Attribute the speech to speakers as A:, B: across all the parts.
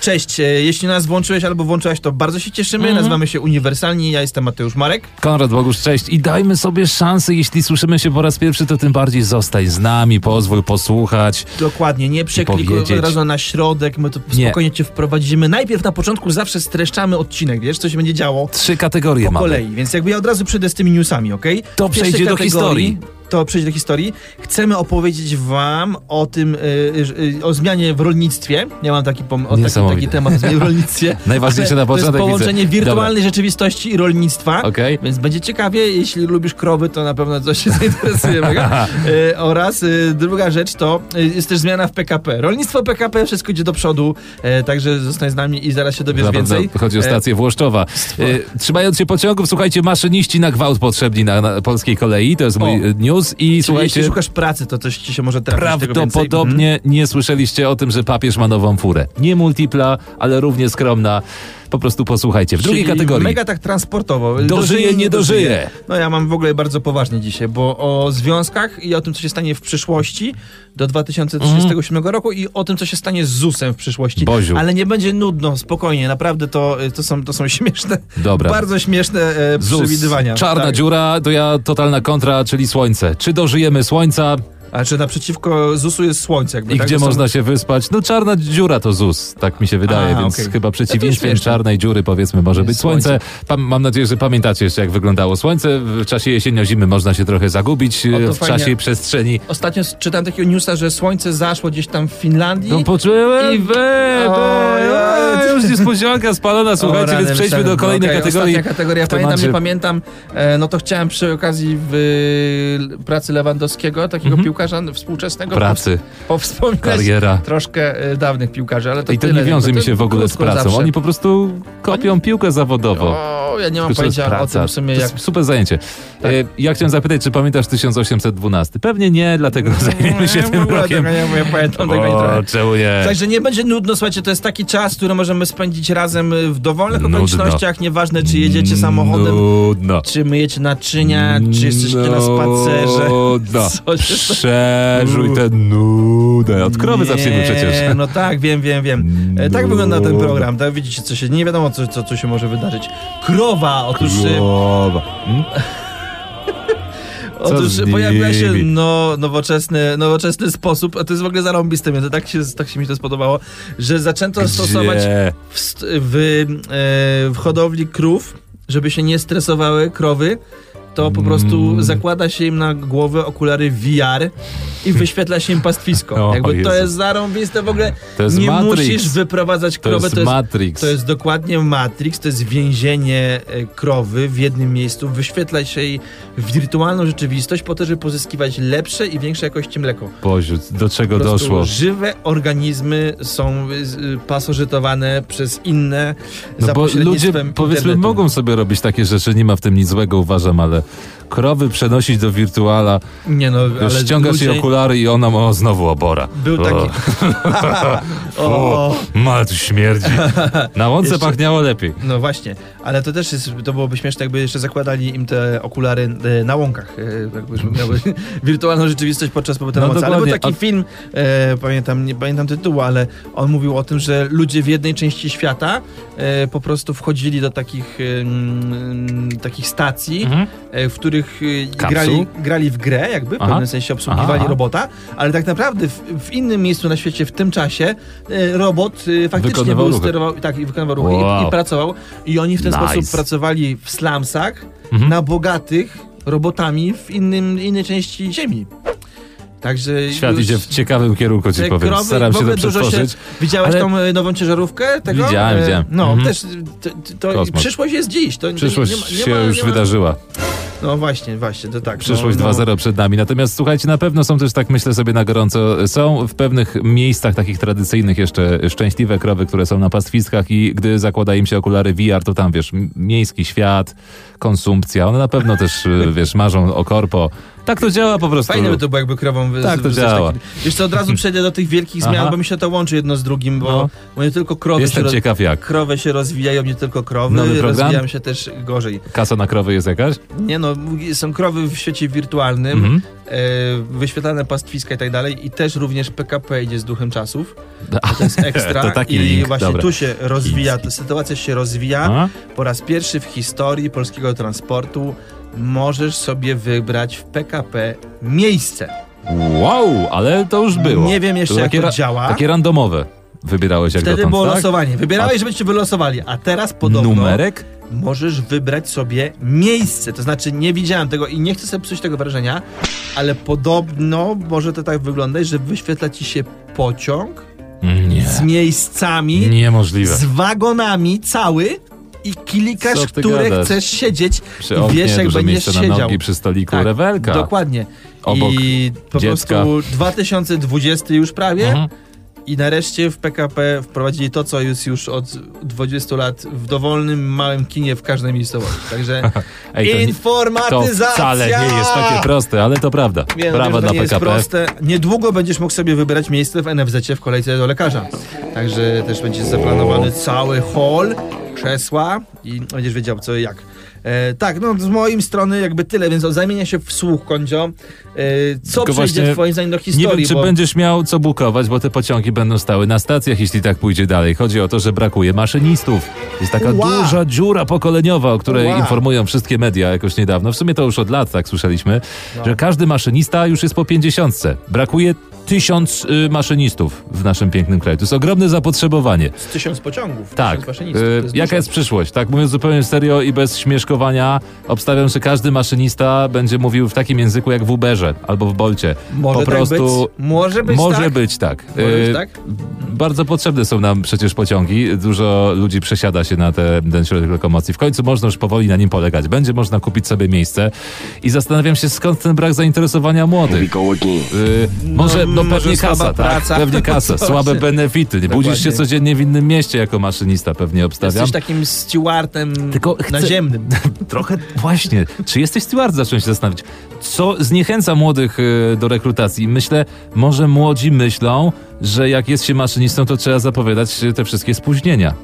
A: Cześć, e, jeśli nas włączyłeś albo włączyłaś, to bardzo się cieszymy. Nazywamy się Uniwersalni, ja jestem Mateusz Marek.
B: Konrad Bogusz, cześć i dajmy sobie szansę, jeśli słyszymy się po raz pierwszy, to tym bardziej zostań z nami, pozwól posłuchać.
A: Dokładnie, nie przeklikuj od
B: powiedzieć.
A: razu na środek, my to
B: Nie.
A: spokojnie cię wprowadzimy. Najpierw na początku zawsze streszczamy odcinek, wiesz, co się będzie działo
B: Trzy kategorie
A: po
B: mamy.
A: kolei, więc jakby ja od razu przejdę z tymi newsami, okej?
B: To
A: W pierwszej
B: przejdzie do
A: kategorii-
B: historii.
A: To przejdzie do historii. Chcemy opowiedzieć wam o tym, y, że- y, o zmianie w rolnictwie. Ja mam taki, pom- o taki,
B: Niesamowite.
A: taki temat o zmianie w rolnictwie.
B: Najważniejsze na
A: To jest
B: początek. widzę.
A: połączenie
B: Dobra,
A: wirtualnej rzeczywistości i rolnictwa.
B: Okej.
A: Więc będzie ciekawie, jeśli lubisz krowy, to na pewno coś się zainteresuje. mega. E, oraz e, druga rzecz to e, jest też zmiana w PKP. Rolnictwo PKP, wszystko idzie do przodu, e, także zostań z nami i zaraz się dowiesz
B: na pewno
A: więcej. E,
B: Chodzi o stację Włoszczowa. E, trzymając się pociągów, słuchajcie, maszyniści na gwałt potrzebni na, na polskiej kolei, to jest mój
A: O.
B: e, news i
A: Czyli jeśli
B: słuchajcie,
A: szukasz pracy, to coś ci się może trafić. tego więcej. Mhm.
B: prawdopodobnie nie słyszeliście o tym, że papież ma nową furę. Nie multipla, ale równie skromna. Po prostu posłuchajcie. W drugiej
A: Czyli
B: kategorii.
A: Mega tak transportowo. Dożyje,
B: nie dożyje.
A: No ja mam w ogóle bardzo poważnie dzisiaj, bo o związkach i o tym, co się stanie w przyszłości do 2037 roku i o tym, co się stanie z ZUS-em w przyszłości.
B: Mhm. Boziu.
A: Ale nie będzie nudno, spokojnie, naprawdę to, y, to, są, to są śmieszne,
B: Dobra.
A: bardzo śmieszne e,
B: ZUS,
A: przewidywania.
B: Czarna
A: tak.
B: dziura, to ja totalna kontra, czyli słońce. Czy dożyjemy słońca
A: A czy naprzeciwko ZUS-u jest słońce? Jakby,
B: i
A: No tak?
B: gdzie
A: To są-
B: można się wyspać? No czarna dziura to ZUS, tak mi się wydaje,
A: A,
B: więc
A: okej. No
B: chyba przeciwieństwem
A: śmieszne.
B: czarnej dziury powiedzmy może być
A: Jest
B: słońce. Pa- mam nadzieję, że pamiętacie jeszcze jak wyglądało słońce. W czasie jesienio-zimy można się trochę zagubić
A: O, to
B: e, w
A: fajnie.
B: czasie i przestrzeni.
A: Ostatnio s- czytałem takiego newsa, że słońce zaszło gdzieś tam w Finlandii.
B: No poczułem,
A: i-
B: we, we,
A: Oj,
B: we,
A: oj.
B: już niespodzianka spalona,
A: O,
B: słuchajcie,
A: rany,
B: więc przejdźmy
A: myślałem,
B: do
A: no,
B: kolejnej
A: okej,
B: kategorii.
A: Ostatnia kategoria,
B: Kto
A: pamiętam,
B: mądrze-
A: nie pamiętam. E, no to chciałem przy okazji w e, pracy Lewandowskiego, takiego piłkarza współczesnego,
B: Mhm. Pracy,
A: powsp- powspominać
B: kariera.
A: troszkę e, dawnych piłkarzy, ale to
B: I to
A: tyle,
B: nie wiąże
A: jakby,
B: mi
A: to
B: się w ogóle z
A: krótko
B: pracą.
A: zawsze.
B: Oni po prostu kopią piłkę zawodowo.
A: O, ja nie mam
B: Tylko, że jest
A: pojęcia o tym w sumie,
B: To
A: jak...
B: jest Super zajęcie.
A: Tak.
B: E, Ja chciałem zapytać, czy pamiętasz 1812? Pewnie nie, dlatego zajmiemy się
A: W
B: tym
A: ogóle
B: rokiem.
A: Mm, tego Nie, nie pamiętam tego i trochę.
B: O, tak. czemu nie?
A: Także nie będzie nudno, słuchajcie, to jest taki czas, który możemy spędzić razem y, w dowolnych
B: Nudno.
A: okolicznościach, nieważne czy jedziecie samochodem,
B: Nudno. No.
A: czy myjecie naczynia, czy jesteście na spacerze.
B: Nudno.
A: Co się stało?
B: Przerzuj tę nudę. Od krowy zaczniemy
A: Nie,
B: przecież.
A: No tak, wiem, wiem, wiem. E, tak wygląda ten program, tak widzicie, co się, nie wiadomo, co, co, co się może wydarzyć. Krowa, otóż, e,
B: Krowa. Hmm?
A: otóż
B: z
A: pojawia się
B: nimi?
A: no, nowoczesny, nowoczesny sposób, a to jest w ogóle zarąbiste, mnie to tak się, tak się mi to spodobało, że zaczęto stosować
B: Gdzie?
A: w, st- w, e, w hodowli krów, żeby się nie stresowały krowy, to po prostu
B: Mm.
A: zakłada się im na głowę okulary VR i wyświetla się im pastwisko.
B: O,
A: Jakby to
B: Jezu.
A: jest zarąbiste w ogóle.
B: To jest
A: nie
B: Matrix.
A: musisz wyprowadzać
B: To
A: krowę.
B: jest Matrix.
A: to jest dokładnie Matrix, to jest więzienie e, krowy w jednym miejscu. Wyświetla się jej wirtualną rzeczywistość po to, żeby pozyskiwać lepsze i większej jakości mleko.
B: Boziu, do czego
A: Po prostu
B: doszło?
A: Żywe organizmy są y, y, pasożytowane przez inne za
B: No bo ludzie,
A: pośrednictwem
B: powiedzmy,
A: internetu.
B: mogą sobie robić takie rzeczy, nie ma w tym nic złego, uważam, ale krowy przenosić do wirtuala,
A: Nie no, ale
B: ściąga się
A: ludzie...
B: okulary i ona ma o, znowu abora.
A: Był taki... o, o,
B: Ma, tu śmierdzi. Na łące
A: Jeszcze-
B: pachniało lepiej.
A: no właśnie, ale to też jest, to byłoby śmieszne, jakby jeszcze zakładali im te okulary e, na łąkach, e, jakby żeby miały wirtualną rzeczywistość podczas pobytu na
B: No
A: łące. Ale był
B: dokładnie,
A: taki
B: a-
A: film, e, pamiętam, nie pamiętam tytułu, ale on mówił o tym, że ludzie w jednej części świata e, po prostu wchodzili do takich, e, mm, takich stacji,
B: Mhm.
A: e, w których e,
B: Kapsuł?
A: grali, grali w grę, jakby w
B: Aha.
A: pewnym sensie obsługiwali
B: Aha.
A: robota, ale tak naprawdę w, w innym miejscu na świecie w tym czasie e, robot e, faktycznie
B: Wykonywał
A: był
B: ruchy.
A: sterował tak, i wykonywał ruchy i,
B: Wow.
A: i pracował. I oni w ten
B: Nice.
A: sposób pracowali w slumsach
B: Mhm.
A: na bogatych robotami w innym, innej części ziemi. Także
B: Świat
A: już
B: idzie w ciekawym kierunku, ci
A: te
B: powiem.
A: krowy,
B: Staram
A: w
B: się to
A: ogóle dużo
B: przetworzyć.
A: Widziałeś
B: Ale-
A: tą e, nową ciężarówkę tego?
B: Widziałem,
A: E,
B: widziałem.
A: No,
B: Mhm.
A: też to, to, to
B: Kosmos.
A: przyszłość jest dziś. To nie-
B: Przyszłość
A: nie ma- nie
B: się
A: ma-
B: już
A: nie ma-
B: wydarzyła.
A: No właśnie, właśnie, to tak.
B: Przyszłość
A: no, no.
B: 2.0 przed nami. Natomiast słuchajcie, na pewno są też, tak myślę sobie na gorąco, są w pewnych miejscach takich tradycyjnych jeszcze szczęśliwe krowy, które są na pastwiskach i gdy zakłada im się okulary VR, to tam wiesz, m- miejski świat, konsumpcja, one na pewno też, y, wiesz, marzą o korpo. Tak to działa po prostu.
A: Fajne by to było, jakby krową wy-
B: Tak, to
A: wysłać
B: działa.
A: taki- Wiesz co, od razu przejdę do tych wielkich zmian,
B: Aha.
A: bo mi się to łączy jedno z drugim, bo,
B: No.
A: bo nie tylko krowy się,
B: Jestem
A: roz...
B: ciekaw jak.
A: krowy się rozwijają, nie tylko krowy,
B: Nowy program?
A: rozwijają się też gorzej.
B: Kasa na krowy jest jakaś?
A: Nie no, no, są krowy w świecie wirtualnym,
B: Mhm.
A: e, wyświetlane pastwiska i tak dalej i też również PKP idzie z duchem czasów.
B: A,
A: To jest ekstra.
B: To taki
A: I
B: link,
A: właśnie
B: dobra. No.
A: tu się rozwija, ta sytuacja się rozwija.
B: a?
A: Po raz pierwszy w historii polskiego transportu możesz sobie wybrać w PKP miejsce.
B: Wow, ale to już było.
A: Nie wiem
B: To
A: jeszcze jak
B: takie
A: to
B: ra-
A: działa.
B: Takie randomowe wybierałeś jak
A: Wtedy
B: dotąd,
A: było
B: tak?
A: losowanie. Wybierałeś, żebyście wylosowali, a teraz podobno
B: Numerek?
A: możesz wybrać sobie miejsce. To znaczy, nie widziałem tego i nie chcę sobie psuć tego wrażenia, ale podobno może to tak wyglądać, że wyświetla ci się pociąg
B: Nie.
A: z miejscami,
B: Niemożliwe.
A: z wagonami cały i
B: Co
A: klikasz,
B: ty
A: które
B: gadasz?
A: chcesz siedzieć
B: Przy
A: i
B: oknie,
A: wiesz, jak
B: duże
A: będziesz
B: miejsce na
A: siedział.
B: nogi, przy stoliku
A: Tak,
B: rewelka.
A: Dokładnie.
B: Obok
A: I po
B: dziecka.
A: prostu 2020 już prawie.
B: Mhm.
A: I nareszcie w PKP wprowadzili to, co jest już od 20 lat w dowolnym małym kinie w każdej miejscowości. Także
B: Ej, to, nie, to
A: informatyzacja!
B: wcale nie jest takie proste, ale to prawda.
A: Wiem, wiem,
B: Brawa
A: że to
B: dla
A: nie jest
B: PKP.
A: proste. Niedługo będziesz mógł sobie wybrać miejsce w NFZ w kolejce do lekarza. Także też będzie zaplanowany cały hall, krzesła i będziesz wiedział co i jak. E, tak, no z mojej strony jakby tyle, więc o, zamienia się w słuch, Kondzio. E, co
B: Tylko
A: przejdzie
B: właśnie
A: twoim zdaniem do
B: Nie
A: historii?
B: wiem, czy
A: bo...
B: będziesz miał co bukować, bo te pociągi będą stały na stacjach, jeśli tak pójdzie dalej. Chodzi o to, że brakuje maszynistów. Jest taka
A: Ła!
B: duża dziura pokoleniowa, o której
A: Ła!
B: informują wszystkie media jakoś niedawno. W sumie to już od lat tak słyszeliśmy,
A: No.
B: że każdy maszynista już jest po pięćdziesiątce. Brakuje tysiąc y, maszynistów w naszym pięknym kraju. To jest ogromne zapotrzebowanie.
A: Z tysiąc pociągów.
B: Tak.
A: Tysiąc maszynistów,
B: Y,
A: to jest
B: jaka
A: dużo.
B: jest przyszłość? Tak mówiąc zupełnie serio i bez śmieszkowania, obstawiam, że każdy maszynista będzie mówił w takim języku jak w Uberze albo w Bolcie.
A: Może
B: po
A: tak
B: prostu
A: być? Może być
B: może
A: tak?
B: być tak.
A: Może
B: Y,
A: być tak?
B: Bardzo potrzebne są nam przecież pociągi. Dużo ludzi przesiada się na te, ten środek lokomocji. W końcu można już powoli na nim polegać. Będzie można kupić sobie miejsce. I zastanawiam się, skąd ten brak zainteresowania
C: we
B: młodych.
C: go again.
B: Y, może, no,
A: może
B: pewnie
A: słaba
B: kasa, tak?
A: praca.
B: Pewnie kasa,
A: Właśnie.
B: słabe benefity. Nie budzisz się
A: Dokładnie.
B: codziennie w innym mieście jako maszynista, pewnie obstawiam.
A: Jesteś takim stewardem
B: Tylko chcę-
A: naziemnym.
B: Trochę właśnie. Czy jesteś steward? Zacząłem się zastanawiać. Co zniechęca młodych y, do rekrutacji? Myślę, może młodzi myślą, że jak jest się maszynistą, to trzeba zapowiadać y, te wszystkie spóźnienia.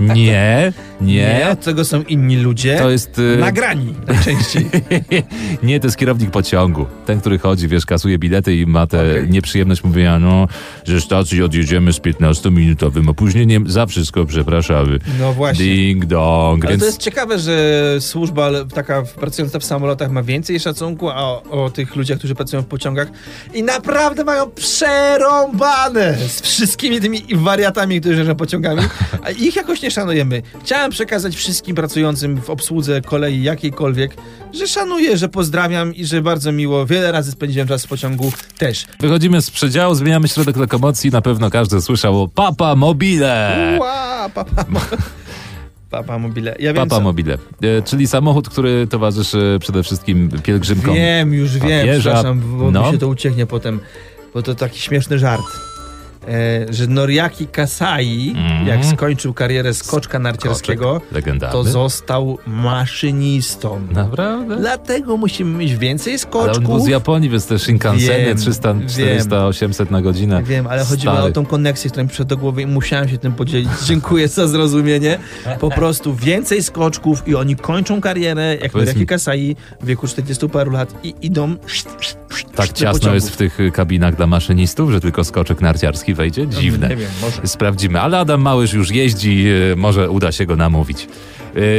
B: Nie,
A: Nie,
B: nie.
A: od tego są inni ludzie.
B: To jest. y,
A: Nagrani Tak najczęściej.
B: nie, to jest kierownik pociągu. Ten, który chodzi, wiesz, kasuje bilety i ma tę nieprzyjemność mówienia, no, ze stacji odjedziemy z 15-minutowym opóźnieniem. Za wszystko przepraszamy.
A: No właśnie.
B: Ding dong.
A: Ale
B: więc...
A: to jest ciekawe, że służba le- taka w- pracująca w samolotach ma więcej szacunku, a o, o tych ludziach, którzy pracują w pociągach i naprawdę mają przerąbane z wszystkimi tymi wariatami, którzy jeżdżą pociągami, a ich jakoś nie szanujemy. Chciałem przekazać wszystkim pracującym w obsłudze kolei jakiejkolwiek, że szanuję, że pozdrawiam i że bardzo miło, wiele razy spędziłem czas w pociągu też.
B: Wychodzimy z przedziału, zmieniamy środek lokomocji. Na pewno każdy słyszał o Papa Mobile.
A: Ła, papa, papa mobile. Ja wiem,
B: Papa
A: co-
B: Mobile, e, czyli samochód, który towarzyszy przede wszystkim pielgrzymkom.
A: Wiem, już wiem,
B: Papieża.
A: przepraszam, bo
B: No.
A: mi się to ucieknie potem, bo to taki śmieszny żart. E, że Noriaki Kasai,
B: Mm.
A: jak skończył karierę skoczka narciarskiego,
B: Legendarny.
A: to został maszynistą.
B: Naprawdę?
A: Dlatego musimy mieć więcej
B: No. Ale on był
A: skoczków.
B: z Japonii, więc te Shinkanseny
A: Wiem,
B: 300,
A: wiem.
B: 400, 800 na godzinę.
A: Wiem, ale chodziło
B: Stary.
A: o tą koneksję, która mi przyszła do głowy i musiałem się tym podzielić. Dziękuję za zrozumienie. Po prostu więcej skoczków i oni kończą karierę, jak
B: Powiedz mi-
A: Noriaki Kasai w wieku 40 paru lat i idą
B: Tak
A: do
B: ciasno jest
A: pociągów.
B: w tych y, kabinach dla maszynistów, że tylko skoczek narciarski wejdzie? Dziwne.
A: No, Nie wiem, może.
B: Sprawdzimy, ale Adam Małysz już jeździ, y, może uda się go namówić.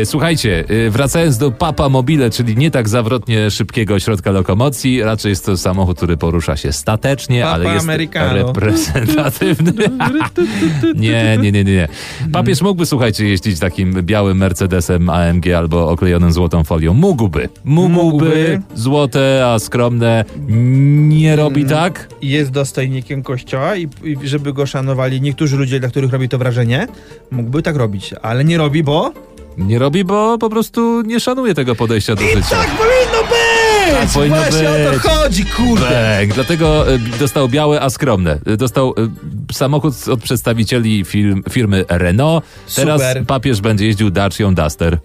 B: Y, Słuchajcie, y, wracając do Papa Mobile, czyli nie tak zawrotnie szybkiego środka lokomocji, raczej jest to samochód, który porusza się statecznie,
A: Papa
B: ale jest
A: Americano.
B: reprezentatywny. nie, nie, nie, nie, nie. Papież mógłby, słuchajcie, jeździć takim białym Mercedesem AMG albo oklejonym złotą folią. Mógłby. Mógłby.
A: Mógłby.
B: Złote, a skromne nie robi
A: Mm.
B: tak.
A: i jest dostojnikiem kościoła i, i żeby go szanowali niektórzy ludzie, dla których robi to wrażenie, mógłby tak robić, ale nie robi, bo...
B: Nie robi, bo po prostu nie szanuje tego podejścia do życia.
A: tak powinno być!
B: Tak powinno
A: Właśnie o
B: być.
A: to chodzi, kurde!
B: Tak, dlatego y, dostał białe, a skromne. Y, Dostał y, samochód od przedstawicieli firm, firmy Renault. Teraz
A: Super.
B: papież będzie jeździł Dacią Duster.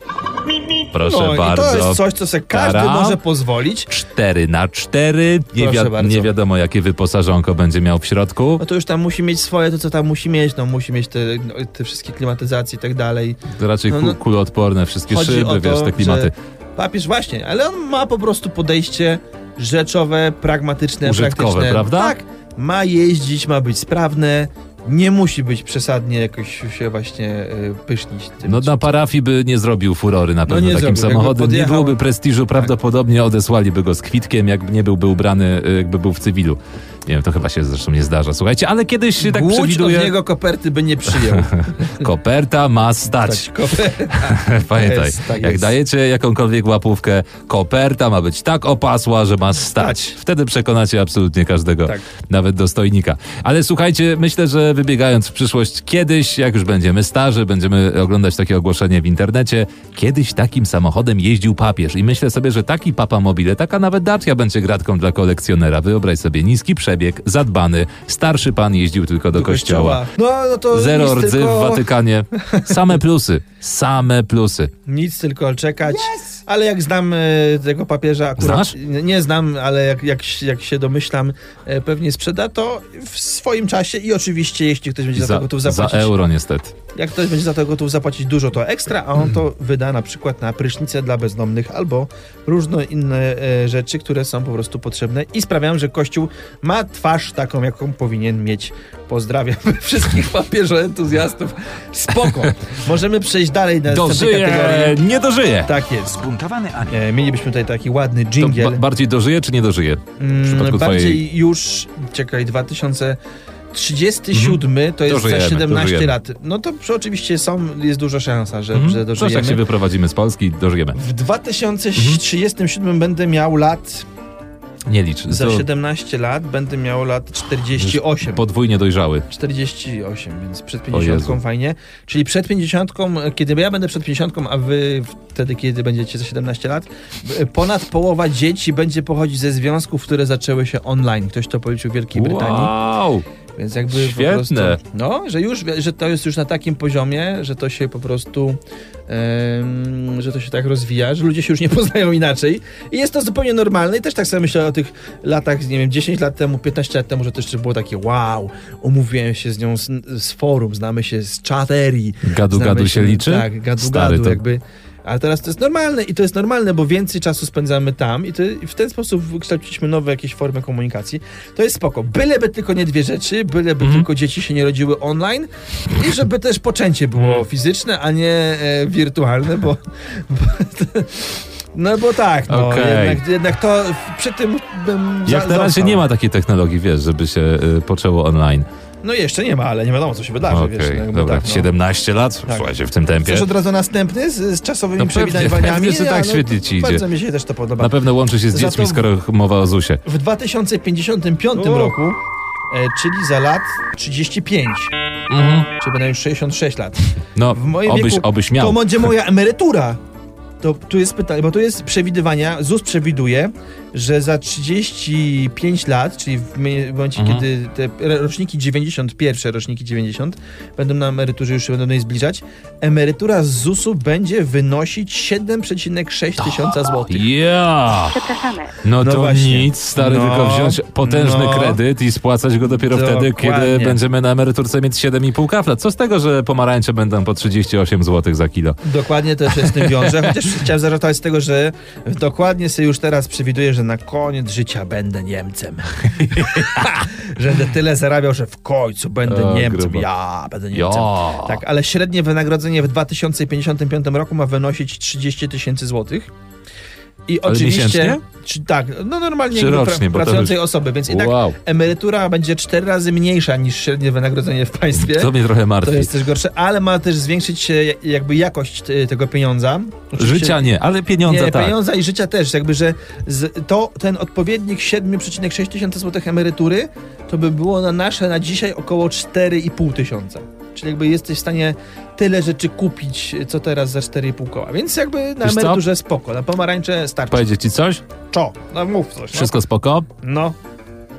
B: Proszę
A: No i
B: bardzo.
A: to jest coś, co sobie każdy
B: Tara.
A: może pozwolić.
B: 4 na 4 nie,
A: Proszę
B: wi-
A: bardzo.
B: nie wiadomo jakie wyposażonko będzie miał w środku.
A: No to już tam musi mieć swoje, to co tam musi mieć, no musi mieć te, no, te wszystkie klimatyzacje i tak dalej.
B: Raczej
A: no,
B: ku-
A: no.
B: kuloodporne wszystkie
A: Chodzi
B: szyby,
A: o to,
B: wiesz, te klimaty.
A: że Papież właśnie, ale on ma po prostu podejście rzeczowe, pragmatyczne,
B: Użytkowe,
A: praktyczne.
B: prawda?
A: Tak, ma jeździć, ma być sprawny, nie musi być przesadnie jakoś się właśnie y, pysznić tym.
B: No na parafii by nie zrobił furory na
A: No
B: pewno
A: nie
B: takim
A: zrobił, jakby
B: samochodem. Nie
A: podjechał- Tak.
B: byłoby prestiżu, prawdopodobnie odesłaliby go z kwitkiem, jakby nie byłby ubrany, y, jakby był w cywilu. Nie wiem, to chyba się zresztą nie zdarza, słuchajcie, ale kiedyś się tak
A: Głódź
B: przewiduje,
A: od niego koperty by nie przyjął.
B: koperta ma stać.
A: Tak, koperta.
B: Pamiętaj,
A: Jest, tak
B: jak
A: jest.
B: dajecie jakąkolwiek łapówkę, koperta ma być tak opasła, że ma stać. Wtedy przekonacie absolutnie każdego,
A: Tak.
B: nawet dostojnika. Ale słuchajcie, myślę, że wybiegając w przyszłość, kiedyś, jak już będziemy starzy, będziemy oglądać takie ogłoszenie w internecie, kiedyś takim samochodem jeździł papież i myślę sobie, że taki papa mobile, taka nawet Dacia będzie gratką dla kolekcjonera. Wyobraź sobie niski przebieg, zadbany, starszy pan jeździł tylko do, kościoła.
A: No, no to
B: Zero
A: nic
B: rdzy
A: tylko,
B: w Watykanie. Same plusy. Same plusy.
A: Nic tylko czekać. Ale jak znam e, tego papieża, akurat
B: Znasz?
A: nie, nie znam, ale jak, jak, się- jak się domyślam, e, pewnie sprzeda to w swoim czasie i oczywiście jeśli ktoś będzie za, to gotów
B: za
A: zapłacić.
B: euro niestety.
A: Jak ktoś będzie za to gotów zapłacić dużo, to ekstra, a on
B: Hmm.
A: to wyda na przykład na prysznice dla bezdomnych albo różne inne e, rzeczy, które są po prostu potrzebne i sprawiają, że Kościół ma twarz taką, jaką powinien mieć. Pozdrawiam wszystkich papieżoentuzjastów. Spoko. Możemy przejść dalej na następne
B: Dożyje!
A: kategorie.
B: Nie dożyje!
A: Tak jest.
C: Zbuntowany anioł.
A: E, mielibyśmy tutaj taki ładny
B: To
A: dżingiel.
B: ba- bardziej dożyje czy nie dożyje?
A: Mm,
B: przypadku
A: bardziej
B: twojej-
A: już, czekaj, 2037 to jest
B: Dożyjemy,
A: za 17
B: dożyjemy.
A: lat. No to przy- oczywiście są, jest duża szansa, że, że
B: Coś Mhm. jak się Mhm.
A: dożyjemy.
B: wyprowadzimy z Polski, dożyjemy.
A: W 2037 będę miał lat,
B: Nie licz.
A: za
B: to
A: 17 lat będę miał lat 48.
B: Podwójnie dojrzały.
A: 48, więc przed
B: Jezu.
A: 50 fajnie. Czyli przed 50, kiedy ja będę przed 50, a wy wtedy, kiedy będziecie za 17 lat, b- ponad połowa dzieci będzie pochodzić ze związków, które zaczęły się online. Ktoś to policzył w Wielkiej Brytanii.
B: Wow!
A: Więc jakby
B: Świetne.
A: po prostu, no, że już, że to jest już na takim poziomie, że to się po prostu, em, że to się tak rozwija, że ludzie się już nie poznają inaczej i jest to zupełnie normalne i też tak sobie myślę o tych latach, nie wiem, 10 lat temu, 15 lat temu, że to jeszcze było takie wow, umówiłem się z nią z, z forum, znamy się z czaterii.
B: Gadu
A: znamy
B: gadu się liczy?
A: Tak, gadu
B: Stary,
A: gadu
B: to-
A: jakby. Ale teraz to jest normalne i to jest normalne, bo więcej czasu spędzamy tam i, to, i w ten sposób wykształciliśmy nowe jakieś formy komunikacji. To jest spoko. Byleby tylko nie dwie rzeczy, byleby
B: Mhm.
A: tylko dzieci się nie rodziły online i żeby też poczęcie
B: Mhm.
A: było fizyczne, a nie e, wirtualne, bo... bo no bo tak, no,
B: Okej.
A: jednak, jednak to w- przy tym bym
B: Jak
A: za-
B: na razie
A: został.
B: nie ma takiej technologii, wiesz, żeby się y, poczęło online.
A: No jeszcze nie ma, ale nie wiadomo co się wydarzy,
B: Okej,
A: wiesz. no, jakby
B: dobra.
A: tak, no.
B: 17 lat?
A: Tak.
B: Słuchajcie, w tym tempie.
A: Chcesz od razu następny z, z czasowymi
B: No pewnie,
A: przewidywaniami?
B: pewnie, że tak
A: Ale
B: świetnie ci idzie.
A: Bardzo mi się też to podoba.
B: Na pewno łączy się z
A: Za
B: dziećmi,
A: to-
B: skoro mowa o ZUSie.
A: W 2055
B: O.
A: roku, e, czyli za lat 35, czyli będę już 66 lat.
B: No,
A: W moim
B: obyś,
A: wieku
B: obyś miał.
A: To będzie moja emerytura. To tu jest pytanie, bo tu jest przewidywania. ZUS przewiduje, że za 35 lat, czyli w mie- w momencie,
B: Mhm.
A: kiedy te re- roczniki 91, roczniki 90 będą na emeryturze, już się będą do niej zbliżać, emerytura z ZUS-u będzie wynosić 7,6
B: Tak.
A: tysiąca złotych.
B: Ja!
D: Przepraszamy.
B: No,
A: No
B: to
A: właśnie.
B: nic, stary,
A: No,
B: tylko wziąć potężny
A: no.
B: kredyt i spłacać go dopiero wtedy,
A: Dokładnie.
B: kiedy będziemy na emeryturce mieć 7,5 kafla. Co z tego, że pomarańcze będą po 38 zł za kilo?
A: Dokładnie to się z tym wiąże, chociaż chciałem zażartować z tego, że dokładnie sobie już teraz przewiduję, że na koniec życia będę Niemcem. że będę tyle zarabiał, że w końcu będę
B: O,
A: Niemcem.
B: grubo.
A: Ja będę
B: Ja.
A: Niemcem. Tak, ale średnie wynagrodzenie w 2055 roku ma wynosić 30 tysięcy złotych. I
B: Ale miesięcznie?
A: oczywiście. Czy, tak, no normalnie
B: Czy
A: jakby
B: rocznie, bo to
A: pracującej osoby, więc i tak
B: Wow.
A: emerytura będzie cztery razy mniejsza niż średnie wynagrodzenie w państwie.
B: To mnie trochę
A: To
B: martwi.
A: jest też gorsze, ale ma też zwiększyć się jak- jakby jakość y, tego pieniądza. Oczywiście-
B: Życia nie, ale pieniądza
A: nie,
B: tak.
A: pieniądza i życia też, jakby, że z, to ten odpowiednik 7,6 tysiąca złotych emerytury, to by było na nasze na dzisiaj około 4,5 tysiąca. Czyli jakby jesteś w stanie tyle rzeczy kupić, y, co teraz za 4,5 koła. Więc jakby na
B: Wiesz co?
A: emeryturze spoko, na pomarańcze starczy.
B: Powiedzieć ci coś?
A: Czo, no mów coś.
B: Wszystko spoko,
A: No, no.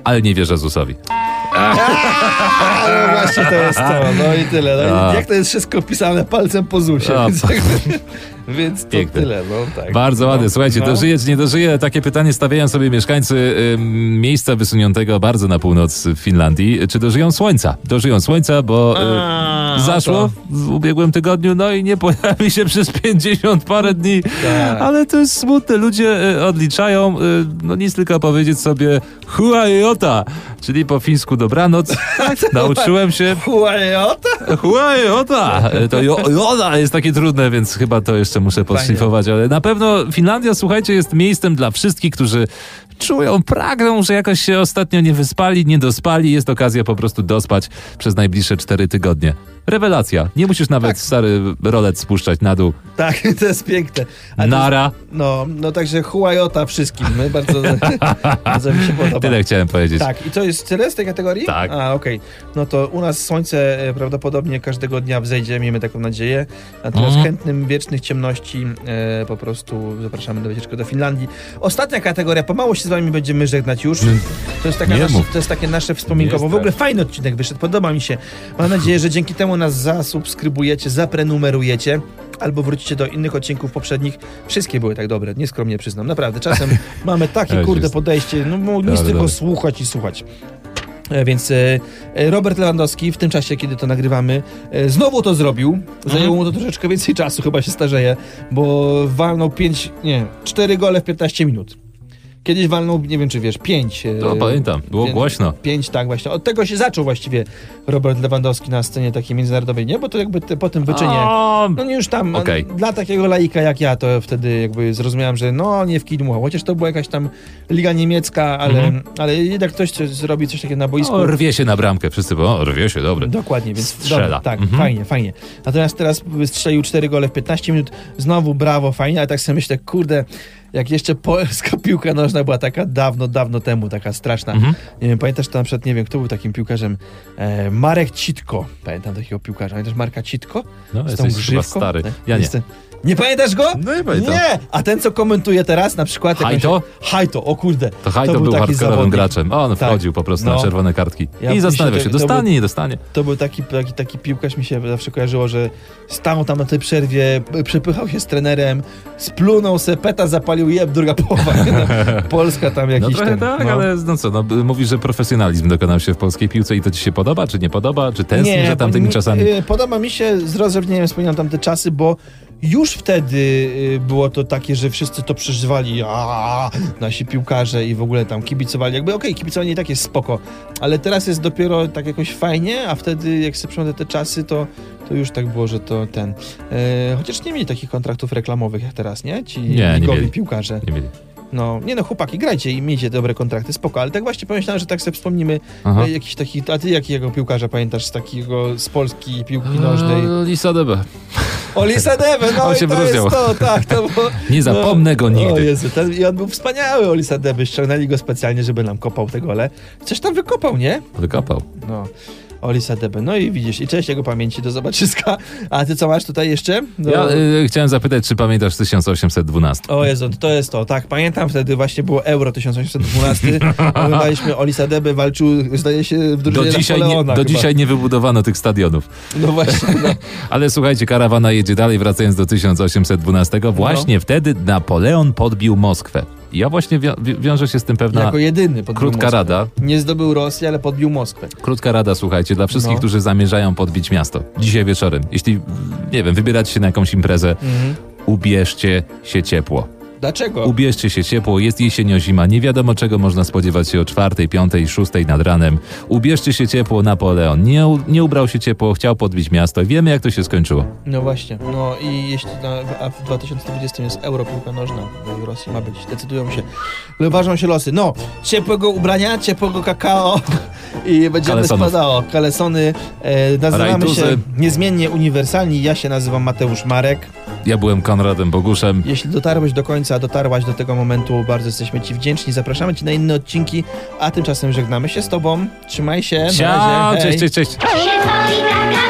B: ale nie wierzę ZUSowi.
A: Tak. A, no właśnie to jest to. No i tyle. No
B: A.
A: i jak to jest wszystko pisane palcem po ZUSie.
B: A,
A: Więc jakby, Więc to
B: Piękne.
A: tyle, no tak.
B: Bardzo ładne. Słuchajcie,
A: no.
B: dożyje czy nie dożyje? Takie pytanie stawiają sobie mieszkańcy ym, miejsca wysuniętego bardzo na północ w Finlandii. Czy dożyją słońca? Dożyją słońca, bo
A: A,
B: y, zaszło
A: to-
B: w ubiegłym tygodniu, no i nie pojawi się przez 50 parę dni.
A: Tak.
B: Ale to jest smutne. Ludzie y, odliczają, y, no nic tylko powiedzieć sobie huajota, czyli po fińsku dobranoc.
A: Tak,
B: Nauczyłem się
A: Huariota?
B: Jota!
A: tak.
B: E, To jo- joda jest takie trudne, więc chyba to jeszcze muszę podszlifować, ale na pewno Finlandia, słuchajcie, jest miejscem dla wszystkich, którzy czują, pragną, że jakoś się ostatnio nie wyspali, nie dospali. Jest okazja po prostu dospać przez najbliższe cztery tygodnie. Rewelacja. Nie musisz nawet stary rolec spuszczać na dół.
A: Tak, to jest piękne. A to jest,
B: Nara.
A: no, no także huariota wszystkim. My bardzo, bardzo mi się podoba.
B: Tyle chciałem powiedzieć.
A: Tak, i to jest tyle z tej kategorii?
B: Tak.
A: A, okej. No to u nas słońce e, prawdopodobnie każdego dnia wzejdzie, miejmy taką nadzieję. Natomiast
B: Mhm.
A: chętnym wiecznych ciemności e, po prostu zapraszamy do wycieczki do Finlandii. Ostatnia kategoria, pomału się z wami będziemy żegnać już. To jest, taka
B: nie
A: nasze,
B: mów.
A: to jest takie nasze wspominkowo.
B: Nie
A: W ogóle fajny odcinek wyszedł, podoba mi się. Mam nadzieję, że dzięki temu nas zasubskrybujecie, zaprenumerujecie. Albo wrócicie do innych odcinków poprzednich. Wszystkie były tak dobre, nieskromnie przyznam. Naprawdę, czasem mamy takie
B: Ale
A: kurde
B: jest-
A: podejście, no bo nic
B: Dobra,
A: tylko
B: dobra.
A: słuchać i słuchać. E, Więc e, e, Robert Lewandowski w tym czasie, kiedy to nagrywamy, e, znowu to zrobił. Zajęło mu to troszeczkę więcej czasu, chyba się starzeje, bo walnął 5, nie, 4 gole w 15 minut. Kiedyś walnął, nie wiem czy wiesz, 5.
B: To No, pamiętam. Było głośno.
A: 5, tak właśnie. Od tego się zaczął właściwie Robert Lewandowski na scenie takiej międzynarodowej, nie? Bo to jakby te, po tym wyczynie.
B: O,
A: No nie już tam,
B: Okej.
A: dla takiego laika jak ja, to wtedy jakby zrozumiałem, że no nie w kidmu, chociaż to była jakaś tam liga niemiecka, ale,
B: Mhm. No,
A: ale jednak ktoś co- zrobi coś takiego na boisku.
B: o, rwie się na bramkę. Wszyscy bo o, rwie się, dobre.
A: Dokładnie, więc
B: Strzela.
A: Dobra, tak,
B: Mhm.
A: fajnie, fajnie. Natomiast teraz strzelił 4 gole w 15 minut, znowu brawo, fajnie, ale tak sobie myślę, kurde, jak jeszcze polska piłka nożna była taka dawno, dawno temu, taka straszna.
B: Mhm.
A: Nie wiem, pamiętasz to na przykład, nie wiem, kto był takim piłkarzem? E, Marek Citko. Pamiętam takiego piłkarza. Pamiętasz Marka Citko?
B: No,
A: Z tą
B: jesteś chyba
A: grzywką?
B: stary. Ja nie.
A: Jestem- Nie pamiętasz go?
B: No nie
A: Nie! A ten, co komentuje teraz, na przykład... jak on
B: Hajto?
A: się- Hajto, o kurde.
B: To Hajto był, hardkorowym graczem. A On
A: Tak.
B: wchodził po prostu
A: No.
B: na czerwone kartki.
A: Ja
B: I
A: myślę,
B: zastanawiał
A: że
B: się,
A: to
B: dostanie,
A: był-
B: nie dostanie. No
A: To był taki, taki, taki piłkarz, mi się zawsze kojarzyło, że stał tam na tej przerwie, p- przepychał się z trenerem, splunął se, peta zapalił, jeb, druga połowa. Nie, no, Polska tam
B: No
A: jakiś
B: trochę
A: ten,
B: tak,
A: no.
B: ale no co, no, b- mówisz, że profesjonalizm dokonał się w polskiej piłce i to ci się podoba, czy nie podoba, czy tęsknisz za tamtymi
A: bo mi-
B: czasami?
A: y, Podoba mi się, z rozrzewnieniem wspominam tamte czasy, bo już wtedy y, było to takie, że wszyscy to przeżywali, a nasi piłkarze i w ogóle tam kibicowali. Jakby okej, kibicowanie i tak jest spoko, ale teraz jest dopiero tak jakoś fajnie, a wtedy jak sobie przypomnę te czasy, to, to już tak było, że to ten... y, chociaż nie mieli takich kontraktów reklamowych jak teraz, nie? Ci
B: nie
A: ligowi
B: mieli.
A: piłkarze.
B: Nie mieli.
A: No, nie no, chłopaki, grajcie i miejcie dobre kontrakty, spoko, ale tak właśnie pomyślałem, że tak sobie wspomnimy
B: Aha.
A: E, Jakiś taki, a ty jakiego piłkarza pamiętasz z takiego z Polski piłki y- nożnej?
B: A, Lisa Debe.
A: Olisa Debe, no
B: On
A: i
B: się
A: to
B: brudział.
A: jest to, tak, to było...
B: Nie zapomnę
A: no,
B: go
A: O
B: nigdy.
A: Jezu, ten, i on był wspaniały, Olisa Deby, ściągnęli go specjalnie, żeby nam kopał te gole. Coś tam wykopał, nie?
B: Wykopał.
A: No, Olisa Debe, no i widzisz, i cześć jego pamięci do zobaczyska. A ty co masz tutaj jeszcze? No.
B: Ja y, chciałem zapytać, czy pamiętasz 1812?
A: O Jezu, to jest to, tak, pamiętam wtedy właśnie było Euro 1812, oglądaliśmy Olisa Debe, walczył, zdaje się, w drużynie
B: Do, dzisiaj nie,
A: Napoleona
B: do
A: chyba.
B: dzisiaj nie wybudowano tych stadionów.
A: No właśnie, no.
B: Ale słuchajcie, karawana jedzie dalej, wracając do 1812.
A: No.
B: Właśnie wtedy Napoleon podbił Moskwę. Ja właśnie wią- wi- wiąże się z tym pewna
A: Jako jedyny podbił
B: krótka
A: Moskwę.
B: rada.
A: Nie zdobył Rosji, ale podbił Moskwę.
B: Krótka rada, słuchajcie, dla wszystkich,
A: No.
B: którzy zamierzają podbić miasto. Dzisiaj wieczorem, jeśli, nie wiem, wybieracie się na jakąś imprezę, ubierzcie się ciepło.
A: Dlaczego?
B: Ubierzcie się ciepło, jest jesieniozima, zima, nie wiadomo czego można spodziewać się o czwartej, piątej, szóstej nad ranem. Ubierzcie się ciepło, Napoleon nie, u- nie ubrał się ciepło, chciał podbić miasto. Wiemy, jak to się skończyło.
A: No właśnie. No i jeśli na, a w 2020 jest euro piłka nożna, no i w Rosji ma być, decydują się, ważą się losy. No, ciepłego ubrania, ciepłego kakao i będziemy
B: Kalesonów.
A: spadało. Kalesony, e, nazywamy
B: Rajtuzy.
A: się niezmiennie uniwersalni. Ja się nazywam Mateusz Marek.
B: Ja byłem Konradem Boguszem.
A: Jeśli dotarłeś do końca, dotarłaś do tego momentu, bardzo jesteśmy Ci wdzięczni. Zapraszamy Ci na inne odcinki, a tymczasem żegnamy się z Tobą. Trzymaj się. na
B: Ciao,
A: razie. Hej.
B: cześć, cześć, cześć.
C: To się boi taka